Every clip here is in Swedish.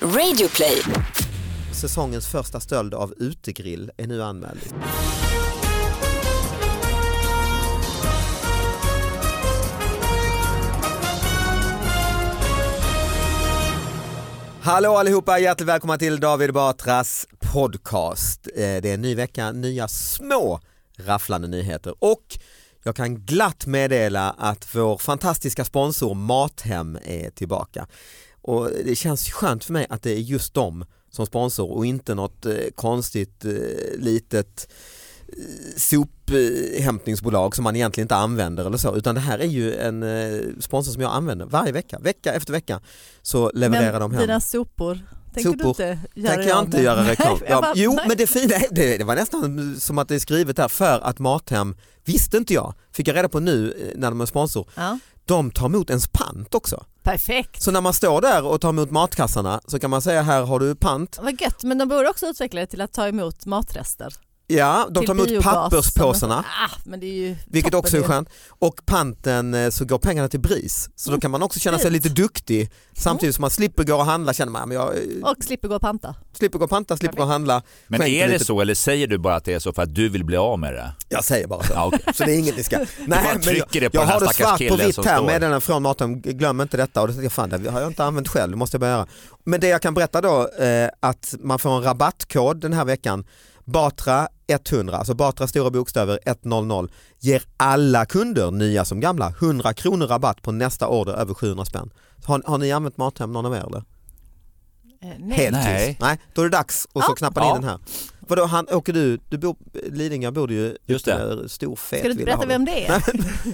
Radioplay. Säsongens första stöld av utegrill är nu anmäld. Hallå allihopa, hjärtligt välkomna till David Batras podcast. Eh, Det är en ny vecka, nya små rafflande nyheter och jag kan glatt meddela att vår fantastiska sponsor Mathem är tillbaka. Och det känns skönt för mig att det är just dem som sponsor och inte något eh, konstigt eh, litet eh, sophämtningsbolag som man egentligen inte använder eller så utan det här är ju en eh, sponsor som jag använder varje vecka, vecka efter vecka så levererar de hem. Dina sopor, tänker Sopor. du inte göra tänker jag av inte med? göra reklam. jag Ja, bara- jo, nej. men det fina, är- det, det var nästan som att det är skrivet här för att Mathem, visste inte jag, fick jag reda på nu eh, när de är sponsor, Ja. de tar emot ens pant också. Perfekt. Så när man står där och tar emot matkassarna så kan man säga här har du pant. Vad gött, men de borde också utveckla det till att ta emot matrester. Ja, de till tar emot biogas som- papperspåsarna. Ah, men det är ju Vilket toppen också är ju. skönt. Och panten eh, så går pengarna till BRIS. Så då kan man också känna sig Mm. fint. lite duktig samtidigt som man slipper gå och handla. Känner man, "Ja, men jag eh, Och slipper gå och panta. slipper gå och panta, slipper gå och handla. Men Skänker är det lite- så eller säger du bara att det är så för att du vill bli av med det? Jag säger bara så. Ja, okej. Så det är inget ni ska... bara jag, trycker det på jag den här har det stackars svart på killen vitt som här står. med den från Mathem, glöm inte detta. Och då tänkte jag, fan det har jag inte använt själv, det måste jag börja göra. Men det jag kan berätta då, eh, att man får en rabattkod den här veckan. Batra 100, alltså Batra stora bokstäver 100, ger alla kunder, nya som gamla, 100 kronor rabatt på nästa order över 700 spänn. Har, har ni använt Mathem någon av er eller? Eh, nej. Helt Nej. tyst. Nej, då är det dags och så knappar ni Ja. in den här. Vadå, han, åker du, du bor, Lidingö bor du ju Just det. eh, stor fet Ska du inte villa har berätta vem det är?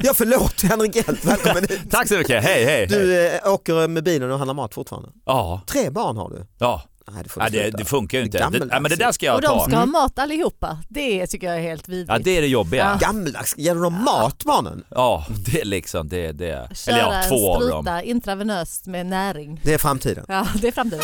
Ja förlåt Henrik Hjelt, välkommen hit. Tack så mycket, hej hej! hej. Du eh, åker med bilen och handlar mat fortfarande. Ja, Tre barn har du. ja. Nej det får du ja det, sluta. det funkar ju inte. Det är Det, alltså. ja, men det där ska Och jag de ta. ska Mm. ha mat allihopa. Det tycker jag är helt vidrigt. Ja, det är det jobbiga. Gammaldags, ger de mat barnen? Ja, det är liksom det. det. Köra Eller ja, två en av spruta dem. intravenöst med näring. Det är framtiden. Ja, det är framtiden.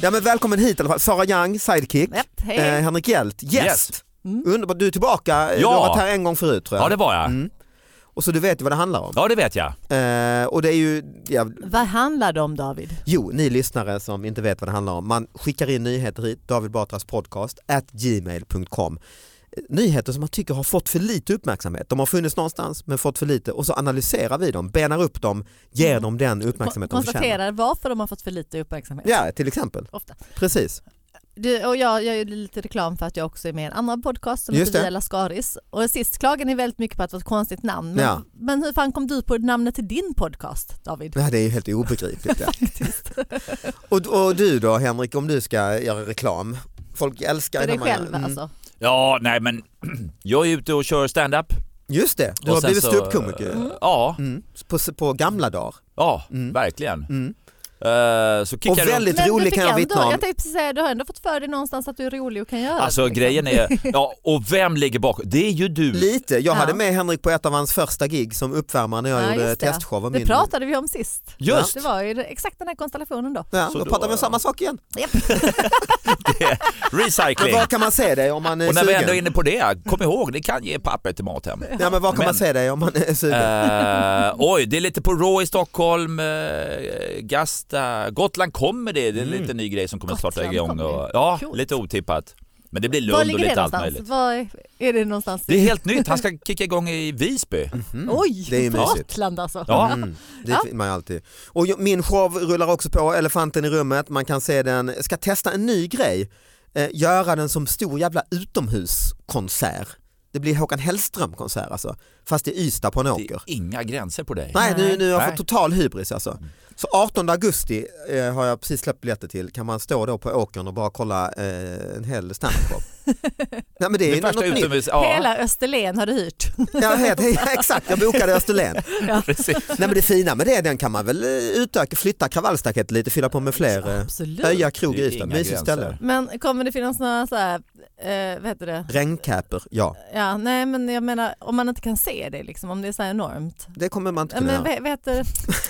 Ja men välkommen hit i alla fall. Sara Young, sidekick. Japp, hej. Eh, Henrik Hjelt, gäst. Yes. Underbart, du är tillbaka. Du Ja. har varit här en gång förut tror jag. Ja, det var jag. Och så du vet ju vad det handlar om. Ja, det vet jag. Eh, och det är ju, ja, Vad handlar det om David? jo ni lyssnare som inte vet vad det handlar om. Man skickar in nyheter hit, David Batras podcast, at gmail.com. nyheter som man tycker har fått för lite uppmärksamhet. De har funnits någonstans men fått för lite och så analyserar vi dem, benar upp dem, ger dem den uppmärksamhet de förtjänar. Mm. Konstaterar varför de har fått för lite uppmärksamhet. Ja, till exempel. Ofta. Precis. Du, och jag gör ju lite reklam för att jag också är med i en annan podcast som Just heter det. Via Lascaris. Och sist klagade ni väldigt mycket på att det var ett konstigt namn. Men, Ja. men hur fan kom du på namnet till din podcast David? Det här är ju helt obegripligt. Ja. och, och du då Henrik, om du ska göra reklam? Folk älskar För dig den här själv mannen. Mm. alltså. Ja, nej men jag är ute och kör stand-up. Mm. Just det, du Och har sen blivit så- ståuppkomiker. Ja, Mm. På, på gamla dagar. ja, Mm. verkligen. Mm. Eh, så kickar Och jag runt. väldigt du rolig fick kan jag ändå, vittna om. Jag tänkte precis säga, du har ändå fått för dig någonstans att du är rolig och kan göra det, Alltså liksom. grejen är, ja och vem ligger bakom? Det är ju du. Lite, jag hade Ja. med Henrik på ett av hans första gig som uppvärmare när jag Ja, gjorde just det. testshowen. Det min. pratade vi om sist. Just. Det var ju det- exakt den här konstellationen då. Ja, Så då då- pratar vi om samma sak igen. Men Recycling. var kan man se dig om man är Och när vi sugen? Mm. ändå är inne på det, kom ihåg ni kan ge papper till Mathem. Ja, men var kan man Men- se dig om man är sugen? Eh, oj, det är lite på Raw i Stockholm, eh, Gasta, Gotland kommer det. Det är en Mm. liten ny grej som kommer att starta Gotland igång. kommer. Och, ja, Coolt. lite otippat. Men det blir Var Lund och ligger det lite allt någonstans? möjligt. Var är- är det någonstans? Det är helt nytt, han ska kicka igång i Visby. Oj, Mm. Det är ju mysigt. Gotland alltså. Ja. Mm, det vill man ju alltid. Och jag- min show rullar också på, Elefanten i rummet, man kan se den, ska testa en ny grej, eh, göra den som stor jävla utomhuskonsert. Det blir Håkan Hellström-konsert alltså, fast i Ystad på en Det är åker. inga gränser på dig. Nej, nu, nu har jag Nej. fått total hybris alltså. Så 18 augusti eh, har jag precis släppt biljetter till, kan man stå då på åkern och bara kolla eh, en hel standup-show? Nej men det är, Det första något nytt. utomhus, ja Hela Österlen har du hyrt. Ja, helt, exakt, jag bokade Österlen. precis. Nej men det fina med det, den kan man väl eh, utöka, flytta kravallstaketet lite, fylla på med fler. eh, Absolut. Öja krog Det i är Ystad, inga mysigt gränser. ställe. Men kommer det finnas några så här, eh, vad heter det? Regnkäper, ja. Ja, nej men jag menar om man inte kan se se det liksom, om det är så här enormt. Det kommer man inte Ja, kunna Men, göra. vet, vet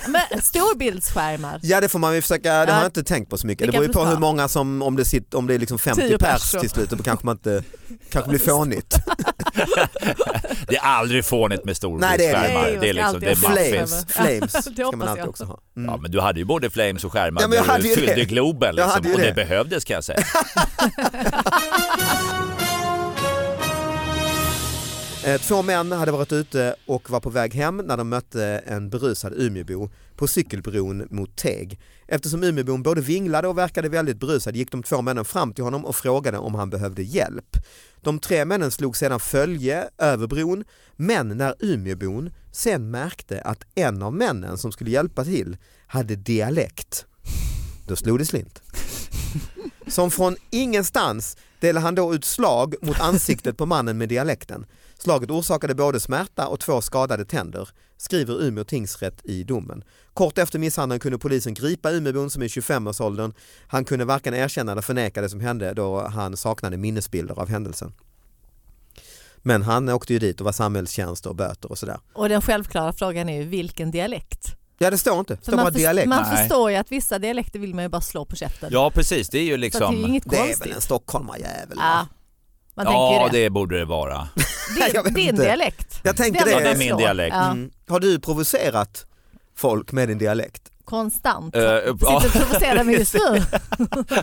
du, men, storbildsskärmar. Ja det får man ju försöka, det har Ja. jag inte tänkt på så mycket. Det Det beror ju kanske på hur ska. många som, om det, sitter, om det är liksom 50 Tio pers pers. till slut, då kanske man inte, kanske blir fånigt. Det är aldrig fånigt med Nej, det är det storbildsskärmar. inte. Det, är liksom, det Nej, är jag ska Flames, alltid maffigt. maffigt. flames ska Det man hoppas alltid jag. också ha. Mm. Ja, men du hade ju både flames och skärmar Ja, men jag när hade du ju fyllde det. Globen Jag liksom, hade ju och det det. behövdes kan jag säga. Eh, Två män hade varit ute och var på väg hem när de mötte en berusad Umeåbo på cykelbron mot Teg. Eftersom Umeåbon både vinglade och verkade väldigt berusad gick de två männen fram till honom och frågade om han behövde hjälp. De tre männen slog sedan följe över bron men när Umeåbon sen märkte att en av männen som skulle hjälpa till hade dialekt, då slog det slint. Som från ingenstans delade han då ut slag mot ansiktet på mannen med dialekten. Slaget orsakade både smärta och två skadade tänder, skriver Umeå tingsrätt i domen. Kort efter misshandeln kunde polisen gripa Umeåbon som är i 25-årsåldern. Han kunde varken erkänna eller förneka det som hände då han saknade minnesbilder av händelsen. Men han åkte ju dit och var samhällstjänst och böter och sådär. Och den självklara frågan är ju vilken dialekt. Ja det står inte, det För står bara man förs- dialekt. man Nej. förstår ju att vissa dialekter vill man ju bara slå på käften. Ja precis, det är ju så att det är ju liksom... inget Det är konstigt. väl en stockholmarjävel. ja, va? man tänker Ja ju det. det borde det vara. Jag vet Din, din inte. dialekt. Jag tänker Den det. vill Ja, det är man min slå. dialekt. Ja, Mm. Har du provocerat folk med din dialekt? konstant. Eh, Sitter ja. och provocerar mig just nu.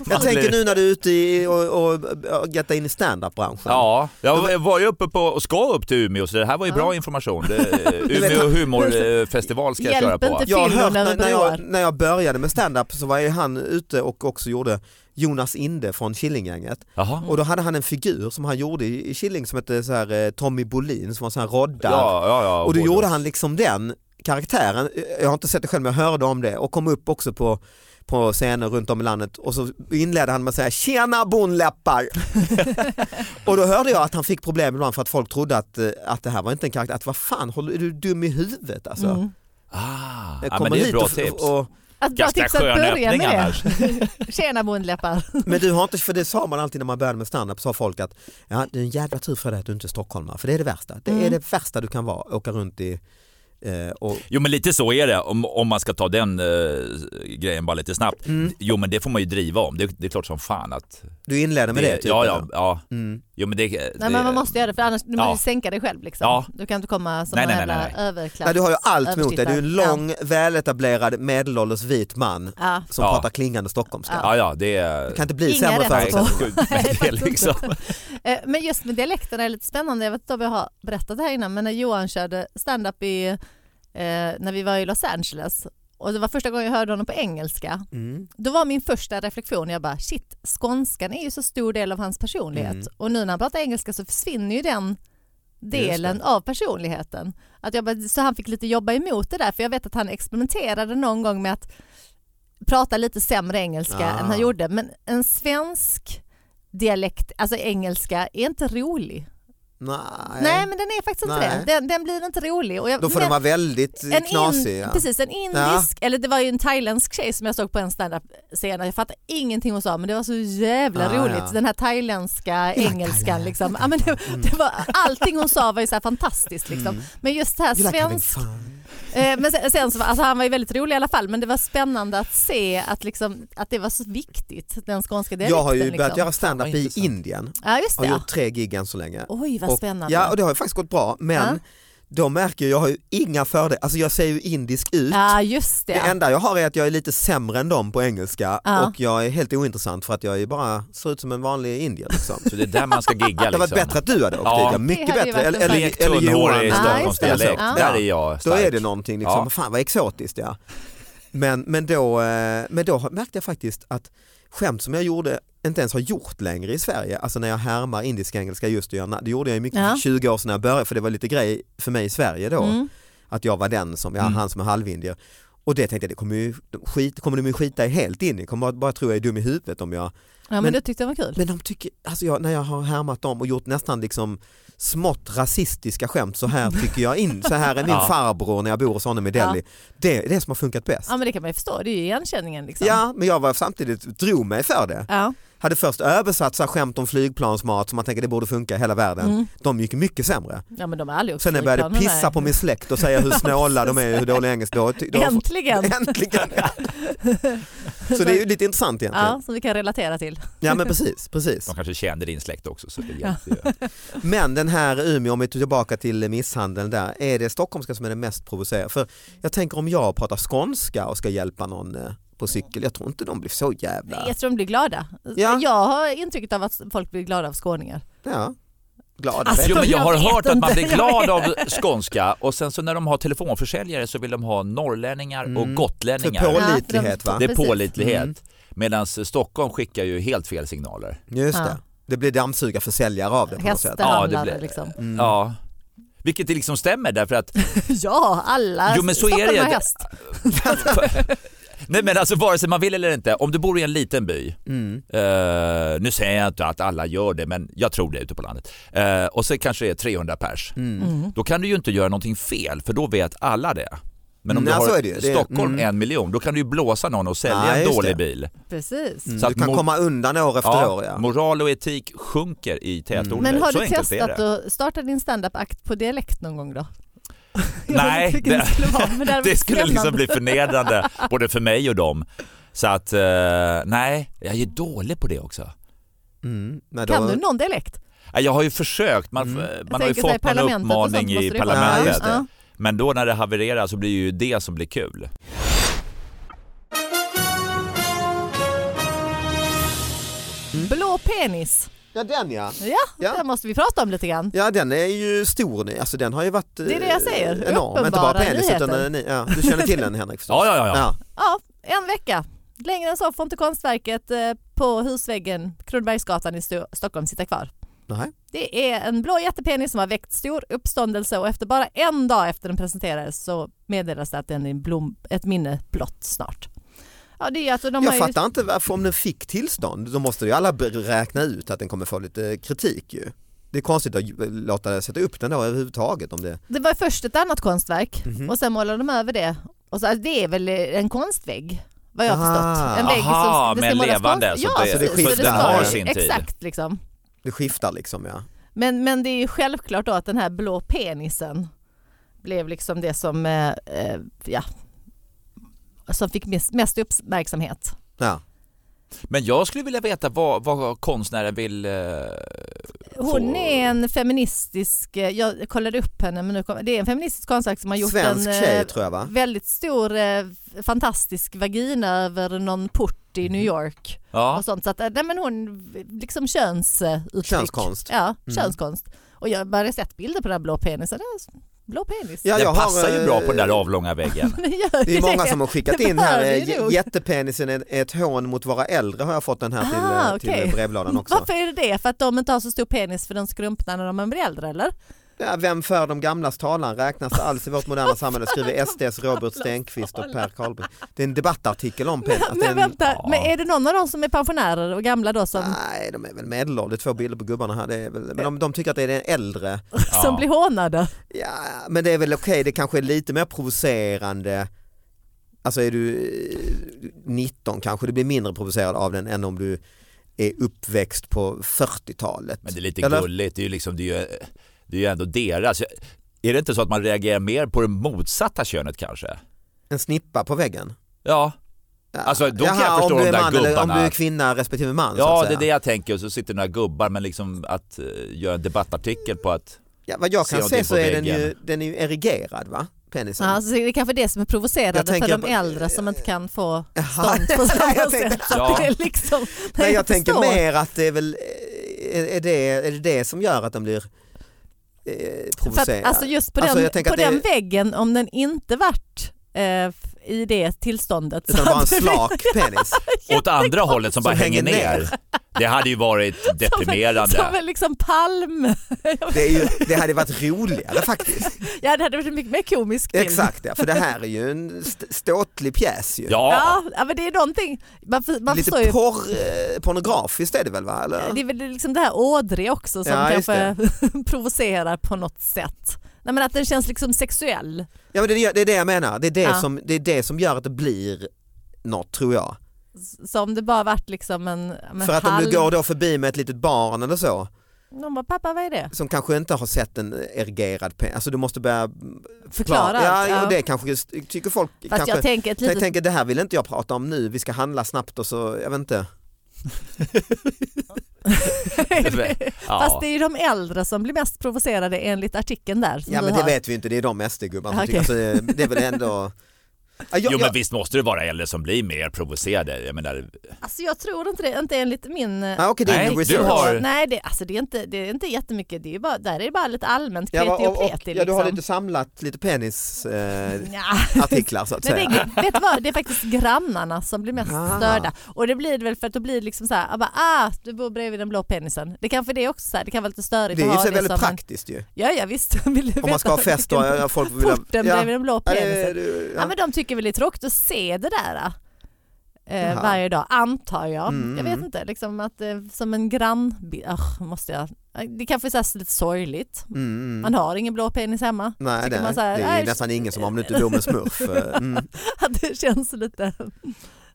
Jag tänker nu när du är ute i, och, och, och getta in i standup-branschen. Ja, jag var- jag var ju uppe på, och ska upp till Umeå så det här var ju Ja. bra information. Det, vet, Umeå humorfestival ska jag köra Hjälp på. inte Jag har Filmen hört när, över när, jag, broar. när jag började med standup så var ju han ute och också gjorde Jonas Inde från Killinggänget Jaha. Mm. och då hade han en figur som han gjorde i i Killing som hette så här, eh, Tommy Bolin som var en sån här roddar Ja, ja, ja, och då både- gjorde han liksom den karaktären, jag har inte sett det själv men jag hörde om det och kom upp också på på scener runt om i landet och så inledde han med att säga tjena bonläppar och då hörde jag att han fick problem ibland för att folk trodde att, eh, att det här var inte en karaktär, att vad fan håller, är du dum i huvudet alltså? Mm. Ah, Jag ja, men det är ett hit bra och- tips. och- Att bra Ganska tips att skön börja öppning med det. annars. Tjena bondläppar. Men du har inte, för det sa man alltid när man började med standup, sa folk att ja, det är en jävla tur för dig att du inte är stockholmare, för det är det värsta. Det är Mm. det värsta du kan vara, åka runt i eh, och Jo men lite så är det om, om man ska ta den eh, grejen bara lite snabbt. Mm. Mm. Jo men det får man ju driva om. Det, det är klart som fan att... du inleder med det. typ, ja, ja, eller? ja. Mm. Jo men det... det Nej men man måste göra det för annars du Ja. måste ju sänka dig själv liksom. Ja. Du kan inte komma som Nej, en nej, nej, jävla nej, nej. överklass. Nej, du har ju allt mot dig, översittare. du är en lång, väletablerad, medelålders vit man Ja. som Ja. pratar klingande stockholmska. Ja, ja, det är... Det kan inte bli Inga sämre Nej, rätt på. förutsättningar. exakt. Men det är liksom... Ja. Eh, Men just med dialekterna är det lite spännande. Jag vet inte om jag har berättat det här innan men när Johan körde stand-up i, eh, när vi var i Los Angeles och det var första gången jag hörde honom på engelska. Mm. Då var min första reflektion, jag bara shit, skånskan är ju så stor del av hans personlighet Mm. och nu när han pratar engelska så försvinner ju den delen av personligheten. Att jag bara, så han fick lite jobba emot det där för jag vet att han experimenterade någon gång med att prata lite sämre engelska Ah. än han gjorde men en svensk dialekt, alltså engelska, är inte rolig. Nej. Nej, men den är faktiskt inte Nej. det. Den, den blir inte rolig. Och jag, Då får den men- vara väldigt en knasig. in, ja. Precis, en indisk, eller det var ju en thailändsk tjej som jag såg på en standup-scen jag fattade ingenting hon sa men det var så jävla Ah, roligt. ja. Den här thailändska engelskan Thailand. liksom. Ja, men det, Mm. det var, allting hon sa var ju så här fantastiskt liksom. Men just det här You like having svensk... fun. eh, men sen, sen så, var- alltså, han var ju väldigt rolig i alla fall men det var spännande att se att, liksom, att det var så viktigt, den skånska dialekten. Jag har ju börjat liksom. göra standup i intressant. Indien, Ja just har det. ja. gjort tre gig än så länge. Oj vad Och- spännande. Ja och det har ju faktiskt gått bra men Ja. då märker jag, jag har ju inga fördelar, alltså jag ser ju indisk ut. Ja, just det. Det enda jag har är att jag är lite sämre än dem på engelska Ja. och jag är helt ointressant för att jag är bara ser ut som en vanlig indier. Liksom. Så det är där man ska gigga Det liksom. var bättre att du hade åkt Ja. dit, ja. mycket Det hade ju bättre. varit Eller, en eller, Blekt eller tunnhårig Johan. i Ja, Stockholmsdialekt. just det. Där är jag Då stark. är det någonting, liksom, Ja. fan vad exotiskt ja. Men, men, då, eh, men då märkte jag faktiskt att skämt som jag gjorde inte ens har gjort längre i Sverige, alltså när jag härmar indisk-engelska just det, jag- det gjorde jag ju mycket Ja. för 20 år sedan när jag började för det var lite grej för mig i Sverige då. Mm. att jag var den som, ja, Mm. han som är halvindier. Och det tänkte jag, det kommer, ju, de skit, kommer de ju skita i helt in i, kommer bara, bara tro jag är dum i huvudet om jag... Ja, men, men- du tyckte det var kul. Men de tycker, alltså jag, när jag har härmat dem och gjort nästan liksom smått rasistiska skämt, så här tycker jag in, så här är min Ja. farbror när jag bor hos honom i Delhi. Det är det som har funkat bäst. Ja men det kan man ju förstå, det är ju igenkänningen liksom. Ja, men jag var samtidigt, drog mig för det. Ja. hade först översatt så här skämt om flygplansmat som man tänker det borde funka i hela världen. Mm. De gick mycket sämre. Ja men de är aldrig Sen när jag började flygplanen, pissa nej. på min släkt och säga hur snåla de är och hur dålig engelska då, då Äntligen! Äntligen! Så det är ju lite intressant egentligen. Ja, som vi kan relatera till. Ja men precis, precis. De kanske kände din släkt också så det hjälpte ju. Men den här Umeå, om vi tar tillbaka till misshandeln där, är det stockholmska som är det mest provocerande? För jag tänker om jag pratar skånska och ska hjälpa någon eh, på cykel, jag tror inte de blir så jävla... Jag tror de blir glada. Ja. Jag har intrycket av att folk blir glada av skåningar. Ja, glada. Alltså, Jo, men jag Jag har vet hört att man inte. blir glad av skånska och sen så när de har telefonförsäljare så vill de ha norrlänningar Mm. och för gotlänningar. pålitlighet Ja, va? det är Precis. pålitlighet. Mm. Medan Stockholm skickar ju helt fel signaler. Just Ja. det. Det blir dammsugarförsäljare av det på något sätt. Hästhandlare Ja, det blir- liksom. Mm. Ja. Vilket det liksom stämmer därför att... Ja, alla Jo, men så är Stockholm det. har häst. Nej men alltså vare sig man vill eller inte, om du bor i en liten by Mm. Eh, nu säger jag inte att alla gör det, men jag tror det ute på landet. Eh, och så kanske det är 300 pers. Mm. Mm. Då kan du ju inte göra någonting fel, för då vet alla det. Men om Nej, du så har Mm, alltså är det ju. Det är- Stockholm mm. en miljon, då kan du ju blåsa någon och sälja Ja, en just dålig det. bil. Precis. Mm. Så att du kan mor- komma undan år efter Ja, år. Ja. Mm. Moral och etik sjunker i tätorter. Men har så du enkelt är testat det. att starta din standup-akt på dialekt någon gång då? Nej, jag vet inte vilken det- det skulle vara, men det, hade Det varit skulle liksom spännande. bli förnedrande både för mig och dem. Så att, eh, nej, jag är dålig på det också. Mm. Men då- Kan du någon dialekt? Nej, Jag har ju försökt, man, Mm. man har ju tänker så här, fått någon parlamentet och sånt uppmaning måste i det ju vara. Ja, parlamentet. just det. Ja. Men då när det havererar så blir ju det som blir kul. Blå penis, Ja den ja. ja, Ja. den måste vi prata om lite grann. Ja den är ju stor nu, alltså den har ju varit eh, Det är det jag säger. enorm. Inte bara Uppenbara penis utan nyheter. eh, ni- ja, du känner till den Henrik förstås? Ja, ja, ja. ja. Ja, en vecka. Längre än så får inte konstverket eh, på husväggen Kronobergsgatan i Sto- Stockholm sitta kvar. Nej. Det är en blå jättepenis som har väckt stor uppståndelse och efter bara en dag efter den presenterades så meddelas det att den är en blom, ett minne blott snart. Ja, det är alltså, de Jag har ju, fattar inte varför om den fick tillstånd, då måste ju alla be- räkna ut att den kommer få lite kritik ju. Det är konstigt att ju- låta sätta upp den då överhuvudtaget om det. det var ju först ett annat konstverk Mhm. och sen målade de över det. Och så, alltså, det är väl en konstvägg vad jag har Aha. förstått. En vägg Aha, som det men ska målas levande, konst- så Ja, det- så det precis, skiftar. Den har ju- sin tid. Exakt liksom. Det skiftar liksom ja. Men, men det är ju självklart då att den här blå penisen blev liksom det som, eh, eh, ja, som fick mest, mest uppmärksamhet. ja. Men jag skulle vilja veta vad, vad konstnären vill... eh, Hon få- är en feministisk, eh, jag kollade upp henne, men nu kom, det är en feministisk konstnär som har gjort Svensk en eh, tjej tror jag va? väldigt stor, eh, fantastisk vagina över någon port i New Mhm. York. Ja. Och sånt. Så att, eh, nej, men hon, liksom könsuttryck. Könskonst. Ja, Mm. könskonst. Och jag har bara sett bilder på den här blå penisen. Ja, Blå penis. Ja, Den jag har, passar ju bra på den där eh, avlånga väggen. Den gör Det ju är många som har skickat Det in här, behöver eh, ju j- nog. jättepenisen är ett hån mot våra äldre har jag fått den här till, eh, Ah, till okej. eh, brevlådan också. Varför är det det? För att de inte har så stor penis för den skrumpnar när de blir äldre eller? Ja, vem för de gamlas talan räknas det alls i vårt moderna samhälle skriver SDs Robert Stenqvist och Per Karlberg. Det är en debattartikel om penis. att det är Men en- vänta, ja. men är det någon av dem som är pensionärer och gamla då som, Nej, de är väl medelålders, två bilder på gubbarna här. Det är väl, men de, de tycker att det är den äldre. som blir hånade? Ja, men det är väl okej, det kanske är lite mer provocerande. Alltså är du eh, 19 kanske du blir mindre provocerad av den än om du är uppväxt på 40-talet. Men det är lite Eller? gulligt, det är ju liksom, det är ju, det är ju ändå deras. Är det inte så att man reagerar mer på det motsatta könet kanske? En snippa på väggen. Ja, Ja. Alltså, då kan jag förstå om du de är där man eller om gubbarna. du är kvinna respektive man. så att ja det säga. är det jag tänker. Och så sitter några gubbar, men liksom att eh, göra en debattartikel på att... Ja, vad jag Se kan om se det är så på är den väggen. ju, den är ju erigerad va? Penisen. Ja, så det är kanske det som är Jag provocerande tänker för på- de äldre som inte kan få Jaha. stånd på Nej, samma jag tänkte- sätt. Så Ja. att det är liksom, Nej, jag tänker förstår. mer att det är väl eh, är är det, är det, det som gör att den blir eh, För att, provocerad? alltså just på den, Alltså, jag tänker på att det- den väggen, om den inte varit eh, i det tillståndet. Utan så bara en hade det blivit- slak penis. Åt andra hållet som bara Som hänger hänger ner. Det hade ju varit deprimerande. Som en liksom palm. Det, är ju, det hade varit roligare faktiskt. Ja, det hade varit en mycket mer komisk bild. Exakt ja, för det här är ju en st- ståtlig pjäs ju. Ja, Ja, ja, men det är någonting. Man, för- man Lite förstår ju. porr, eh, pornografiskt är det väl va? Eller? Det är väl liksom det här ådriga också som Ja, just kanske provocerar på något sätt. Nej, men att den känns liksom sexuell. Ja, men det, är- det är det jag menar, det är det, Ja. som, det är det som gör att det blir något tror jag. Så om det bara varit liksom en, en För att om du går då förbi med ett litet barn eller så De bara, pappa vad är det? som kanske inte har sett en erigerad penis, alltså du måste börja Förklara Ja, allt, ja. och det kanske just- tycker folk Fast kanske, jag tänker ett jag litet... tänker det här vill inte jag prata om nu, vi ska handla snabbt och så, jag vet inte. Fast det är ju de äldre som blir mest provocerade enligt artikeln där. Som Ja du men det har. vet vi ju inte, det är de SD-gubbarna som Okej. tycker, alltså, det är väl ändå... Ja, jag, Jo men jag, visst måste det vara äldre som blir mer provocerade. Jag menar, Alltså jag tror inte det, inte enligt min... eh, ah, okej, det är Nej, ingen du research. har- Nej, det, alltså det, är inte, det är inte jättemycket. Det är ju bara, där är det bara lite allmänt Ja, kreti va, och och, och, pleti. ja, du har liksom. lite samlat lite penisartiklar Nja. eh, artiklar, så att Nej, det, säga. är, vet du vad, det är faktiskt grannarna som blir mest Ah. störda. Och det blir det väl för att då blir det liksom så här, ah, bara, ah, du bor bredvid den blå penisen. Det kanske det är också, så här, det kan vara lite störigt Det är att ju ha så väldigt som en- praktiskt ju. Ja, ja visst. Vill du Om man ska ha veta fest då, vilken- ja, folk vill... Porten ja. bredvid den blå Ja, det- penisen. det- Ja, men de tycker väl det är tråkigt att se det där eh, Jaha. varje dag, antar jag. Mm, Jag vet mm. inte, liksom att eh, som en grannbild, Ugh, måste jag. Det kanske är så här lite sorgligt. Mm, Man mm. har ingen blå penis hemma. Nej, tycker nej. man så här, "Äh, det är ju "Äsch." nästan ingen som har om du inte bor med smurf. eh, Mm. Att det känns lite,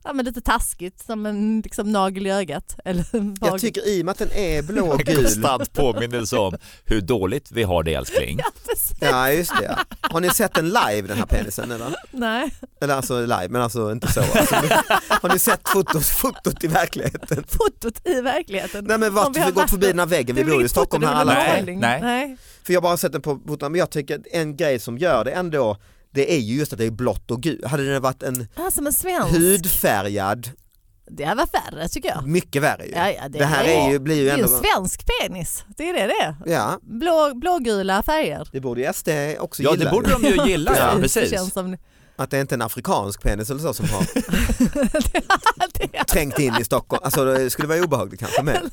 ja, men lite taskigt, som en liksom, nagel i ögat. Eller en Jag vagel. tycker i och med att den är blå och en gul. konstant påminnelse om hur dåligt vi har det älskling. Precis. Ja, just det. ja. Har ni sett den live den här penisen? Eller, Nej. eller alltså live, men alltså inte så. Alltså, har ni sett fotot, fotot i verkligheten? Fotot i verkligheten. Nej men vart, Om vi vi, har går varit- förbi den här väggen, vi Det är bor ju i inget foto, Stockholm det är här väl en alla Nej, målning. nej. nej. För jag har bara sett den på fotot, men jag tycker att en grej som gör det ändå, det är ju just att det är blått och gult. Hade det varit en Ah, som en svensk. hudfärgad, Det här var värre tycker jag. mycket värre ju. Ja, ja, det det här är- är ju, blir ju Det är en ändå... svensk penis, det är det det är. Ja, Blå, blågula färger. det borde ju SD också Ja gilla. det borde de ju gilla, ja, Det precis. känns som Att det inte är en afrikansk penis eller så som har det är trängt in i Stockholm. Alltså det skulle vara obehagligt kanske men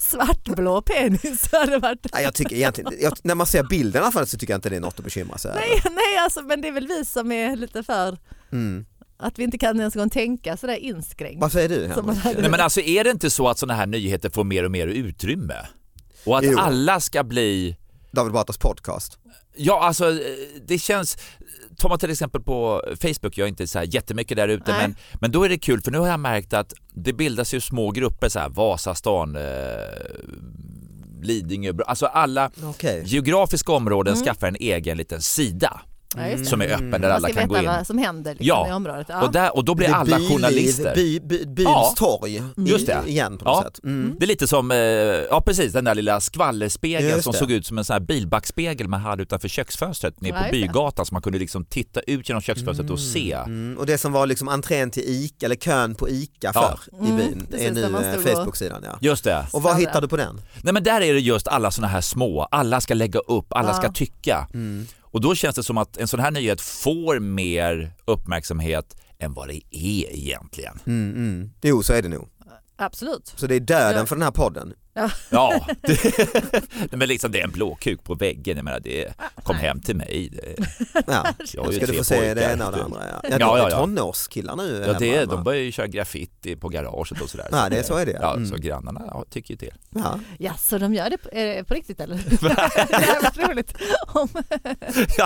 svartblå penis hade varit. Nej, jag tycker egentligen, jag, när man ser bilden i alla fall så tycker jag inte det är något att bekymra sig över. Nej, nej alltså, men det är väl vi som är lite för Mm. att vi inte kan ens en gång tänka sådär inskränkt. Vad säger du Som man Henrik? hade- Nej men alltså är det inte så att sådana här nyheter får mer och mer utrymme? Och att Jo. alla ska bli David Batras podcast. Ja, alltså eh, det känns... Tar man till exempel på Facebook, jag är inte så här jättemycket där ute, Nej. men, men då är det kul för nu har jag märkt att det bildas ju små grupper så här, Vasastan, eh, Lidingö, Bro- alltså alla Okej. geografiska områden Mm. skaffar en egen liten sida Ja, just det. som är öppen där Mm. alla Man ska kan gå veta in. vad som händer liksom, Ja. i området. Ja. Och, där, och då blir Det är alla byliv, journalister. By, by, byns Ja. torg i- Just det. igen på något Ja. sätt. Mm. Det är lite som, eh, ja precis, den där lilla skvallerspegeln Just som det. såg ut som en sån här bilbackspegel man hade utanför köksfönstret nere Ja, på just det. Bygatan så man kunde liksom titta ut genom köksfönstret och se. Mm. Och det som var liksom entrén till Ica, eller kön på Ica Ja. förr i Mm, byn, precis, är nu där man eh, stod och- Facebook-sidan. Ja. Just det. Och vad Stämmer. hittar du på den? Nej men där är det just alla såna här små, alla ska lägga upp, alla Ja. ska tycka. Mm. Och då känns det som att en sån här nyhet får mer uppmärksamhet än vad det är egentligen. Mm, mm. Jo, så är det nog. Absolut. Så det är döden Ja. för den här podden. Ja, det, Nej, men liksom det är en blåkuk på väggen, jag menar det, kom hem till mig. Det, Ja. jag har Då ju ska du tre få se det pojkar. ena och det andra. Ja, ja, Ja, ja, ja, ja. ja. Tonårskillar nu. Ja, det, hemma, är- de va? börjar ju köra graffiti på garaget och sådär. Ja, det är- så är det, ja. Ja, Mm. så grannarna ja, tycker ju till. ja. Ja, så de gör det på, är det på riktigt eller? det här var roligt. Om,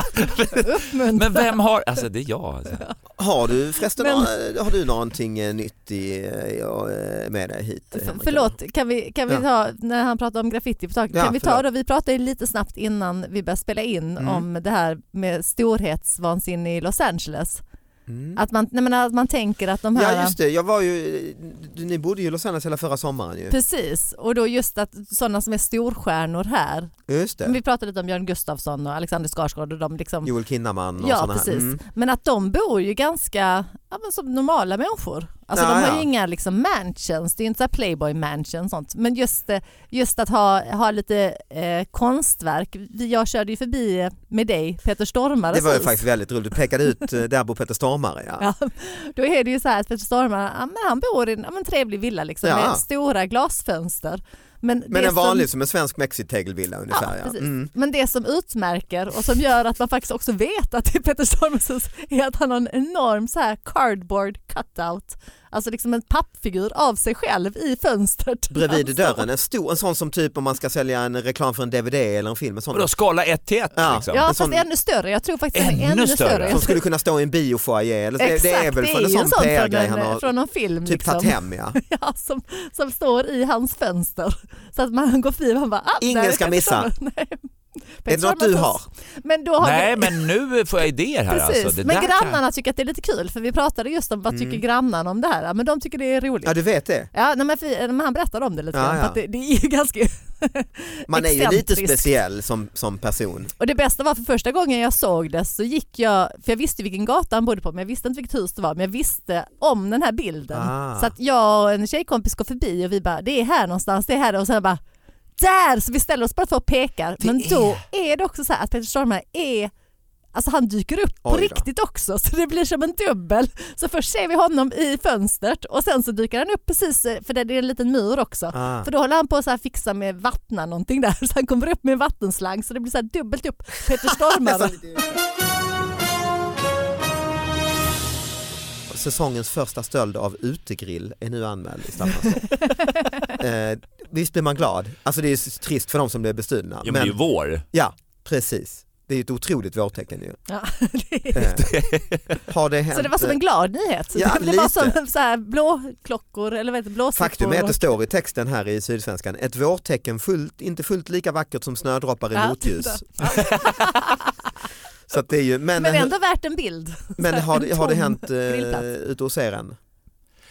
uppmuntra. Men vem har, alltså det är jag. Alltså. Har du förresten Men- några- har du någonting eh, nytt i, eh, ja, eh, med dig hit? eh, F- Henrik? Förlåt, kan vi, kan vi Ja. ta, när han pratade om graffiti på taket, Ja, kan vi ta förlåt. då, vi pratade ju lite snabbt innan vi började spela in Mm. om det här med storhetsvansinne i Los Angeles. Mm. Att, man, nej, men att man tänker att de här... Ja just det, jag var ju, ni bodde ju i Los Angeles hela förra sommaren ju. Precis, och då just att sådana som är storstjärnor här. Just Men det. Vi pratade lite om Björn Gustafsson och Alexander Skarsgård och de liksom... Joel Kinnaman och ja, sådana här. precis. Mm. Men att de bor ju ganska ja, men som normala människor. Alltså Ja, de har ja. ju inga liksom mansions, det är inte så här playboy mansion och sånt. Men just, eh, just att ha, ha lite eh, konstverk. Vi- Jag körde ju förbi eh, med dig, Peter Stormares Det var ju hus. faktiskt väldigt roligt, du pekade ut, eh, där bor Peter Stormare ja. Ja. Då är det ju så här att Peter Stormare, ja, men han bor i en ja, men trevlig villa liksom, Ja. med stora glasfönster. Men, Men det en vanlig som, som en svensk mexitegelvilla ungefär. precis. Mm. men det som utmärker och som gör att man faktiskt också vet att det är Peter Stormsons är att han har en enorm så här cardboard cutout, alltså liksom en pappfigur av sig själv i fönstret. Bredvid Alltså. dörren, en stor, en sån som typ om man ska sälja en reklam för en DVD eller en film. En sån. Vadå skala 1 till 1 Ja. liksom? En Ja, sån- fast ännu större. Jag tror faktiskt den är Ännu ännu större. större. Som skulle kunna stå i en biofoyer. eller- Det, Exakt, det är väl för en ju sån PR-grej han från, en, har från någon film. typ liksom. tagit hem. Ja. Ja, som, som står i hans fönster. Så att man går förbi och man bara... Ah, Ingen där är ska Peter missa. Stormare. Nej. Är Peter det något Stormare du hus. har? Men då har Nej vi, men nu får jag idéer här Precis, alltså. Det men där Mm. grannarna tycker att det är lite kul för vi pratade just om vad tycker grannarna om det här. Men de tycker det är roligt. Ja du vet det. Ja, nej, men, för, men han berättade om det lite Ja, grann, ja. för att det, det är ju ganska... Man är ju lite Excentrisk. speciell som, som person. Och det bästa var för första gången jag såg det så gick jag, för jag visste vilken gata han bodde på men jag visste inte vilket hus det var men jag visste om den här bilden. Ah. Så att jag och en tjejkompis går förbi och vi bara det är här någonstans, det är här och sen bara där! Så vi ställer oss bara två och pekar Det men då är det också så här att Peter Stormare är Alltså han dyker upp på Oj då. riktigt också så det blir som en dubbel. Så först ser vi honom i fönstret och sen så dyker han upp precis, eh, för det det är en liten mur också. Ah. För då håller han på att så här fixa med vattna någonting där så han kommer upp med en vattenslang så det blir så här dubbelt upp Peter Stormare. Säsongens första stöld av utegrill är nu anmäld i Staffanstorp. eh, visst blir man glad? Alltså det är ju trist för de som blir bestulna. Kan... Jo, men det är ju vår. ja, precis. Det är ju ett otroligt vårtecken ju. Ja, det är- Eh, har det hänt? eh, så det var som en glad nyhet. Så Ja, det var lite. som så här blåklockor eller vad heter det, blåsippor. Faktum är att det står i texten här i Sydsvenskan, ett vårtecken fullt, inte fullt lika vackert som snödroppar i Ja, motljus. titta. Så att det är ju, men, Men ändå värt en bild. men har, det- har det en tom hänt eh, grillplats. ute hos er än?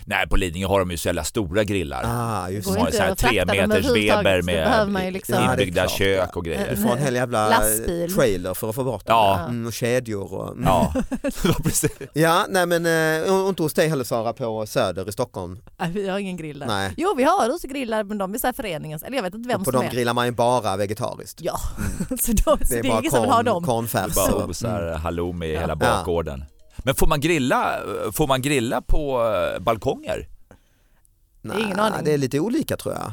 Nej på Lidingö har de ju så jävla stora grillar. Ah, just Går det. De har inte så här att frakta tre dem meters överhuvudtaget, Weber så behöver man ju med liksom- Ja, det är inbyggda klart, kök ja. och grejer. Du får en hel jävla Lastbil. trailer för att få bort det. Ja. Mm, och kedjor och... Mm. Ja, det var precis. Ja, nej men eh, och inte hos dig heller Sara på Söder i Stockholm. Nej, vi har ingen grill där. Nej. Jo vi har utegrillar men de är så här föreningens, eller jag vet inte vem Och på som dem är. grillar man ju bara vegetariskt. Ja, så, då, så det är ingen som vill ha dem. Det kornfärs. bara och- Mm. osar halloumi i hela Alltså, Ja. bakgården. Men får man grilla, får man grilla på eh, balkonger? Det är ingen Nej, aning. Det är lite olika tror jag.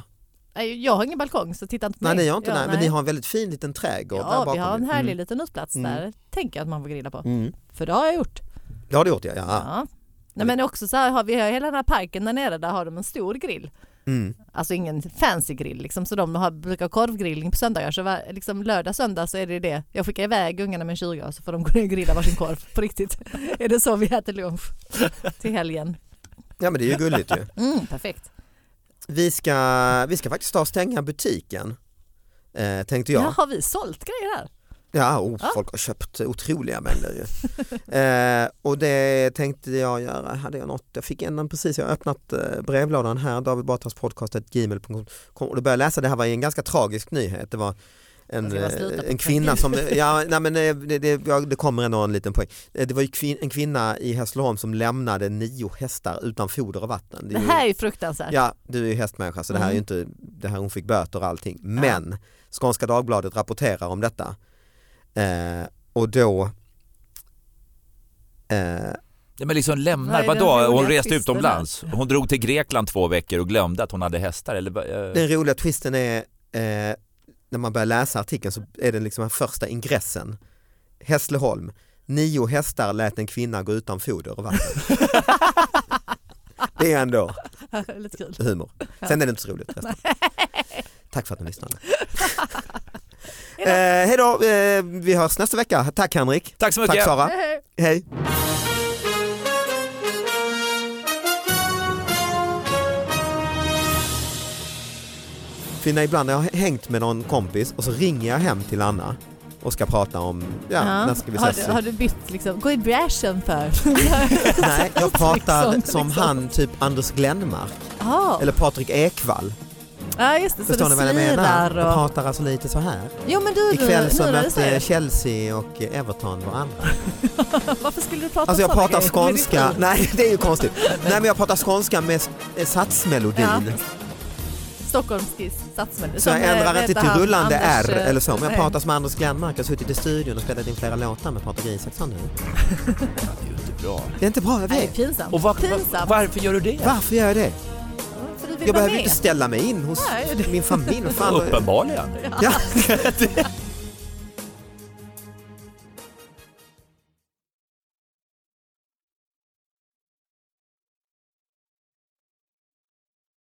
Nej, Jag har ingen balkong så titta inte på Nej, mig. ni har inte Ja, nej, men ni har en väldigt fin liten trädgård där Ja, bakom. vi har en ju. härlig Mm. liten utplats Mm. där. Tänker jag att man får grilla på. Mm. För det har jag gjort. Det har du gjort ja. ja. Ja. Nej, men också så här, har vi hela den här parken där nere, där har de en stor grill. Mm. Alltså ingen fancy grill liksom, så de har, brukar ha korvgrillning på söndagar. Så var, liksom lördag, söndag så är det ju det. Jag skickar iväg ungarna med en 20 och så får de gå ner och grilla varsin korv. På riktigt. är det så vi äter lunch till helgen? ja men det är ju gulligt ju. Mm, perfekt. Vi ska, vi ska faktiskt ta och stänga butiken. Eh, tänkte Ja. jag. har vi sålt grejer här? Ja, oh, Ja. folk har köpt otroliga mängder ju. eh, och det tänkte jag göra, hade jag något, jag fick en precis, jag har öppnat eh, brevlådan här, David Batras podcast, gmail.com och då började jag läsa, det här var ju en ganska tragisk nyhet, det var en, Jag ska bara sluta eh, på en kvinna som, ja, nej, men eh, det, det, ja, det kommer ändå en liten poäng. Eh, Det var ju kvin, en kvinna i Hässleholm som lämnade nio hästar utan foder och vatten. Det är ju- här är ju fruktansvärt. Ja, du är ju hästmänniska så det här är ju inte, det här hon fick böter och allting. Men Skånska Dagbladet rapporterar om detta. Eh, och då, eh, Nej men liksom Vad lämnar, är den vadå? Hon roliga reste twisten utomlands. Hon drog till Grekland två veckor och glömde att hon hade hästar eller? vad, eh, den roliga twisten är, eh, när man börjar läsa artikeln så är den liksom den första ingressen. Hässleholm, nio hästar lät en kvinna gå utan foder och vatten. det är ändå Lite kul. humor. Sen är det inte så roligt. resten. Tack för att ni lyssnade. eh, hej då, eh, vi hörs nästa vecka. Tack Henrik. Tack så mycket! Tack Sara. Hej, hej. Hej. Fina, ibland när jag har hängt med någon kompis och så ringer jag hem till Anna och ska prata om, ja, Ja. när ska vi har, ses? du, har du bytt liksom, gå i bräschen för? Nej, jag pratar Liksom, som liksom. han, typ Anders Glenmark Ja, eller Patrik Ekvall. ja just det, så Förstår det ni vad jag menar? slirar Jag och... pratar alltså lite så här. Jo men du, nu Ikväll så när du säger mötte det. Chelsea och Everton varandra. Varför skulle du prata Alltså jag om såna pratar grejer? Är skånska, det nej det är ju konstigt. Nej men jag pratar skånska med s- eh, satsmelodin. kul? Stockholmskiss, satsmän. Så jag ändrar inte till rullande R eh, Anders, eh, eller så. Men jag nej. pratar som Anders Glenmark, jag har suttit i studion och spelat in flera låtar med Patrik Isaksson nu. Det är ju inte bra. Det är inte bra, jag Nej, vet. pinsamt. Och var, var, pinsamt. varför gör du det? Varför gör jag det? För du jag vill vara behöver med. inte ställa mig in hos Nej, det- min familj. Vad Fan, Uppenbarligen. ja.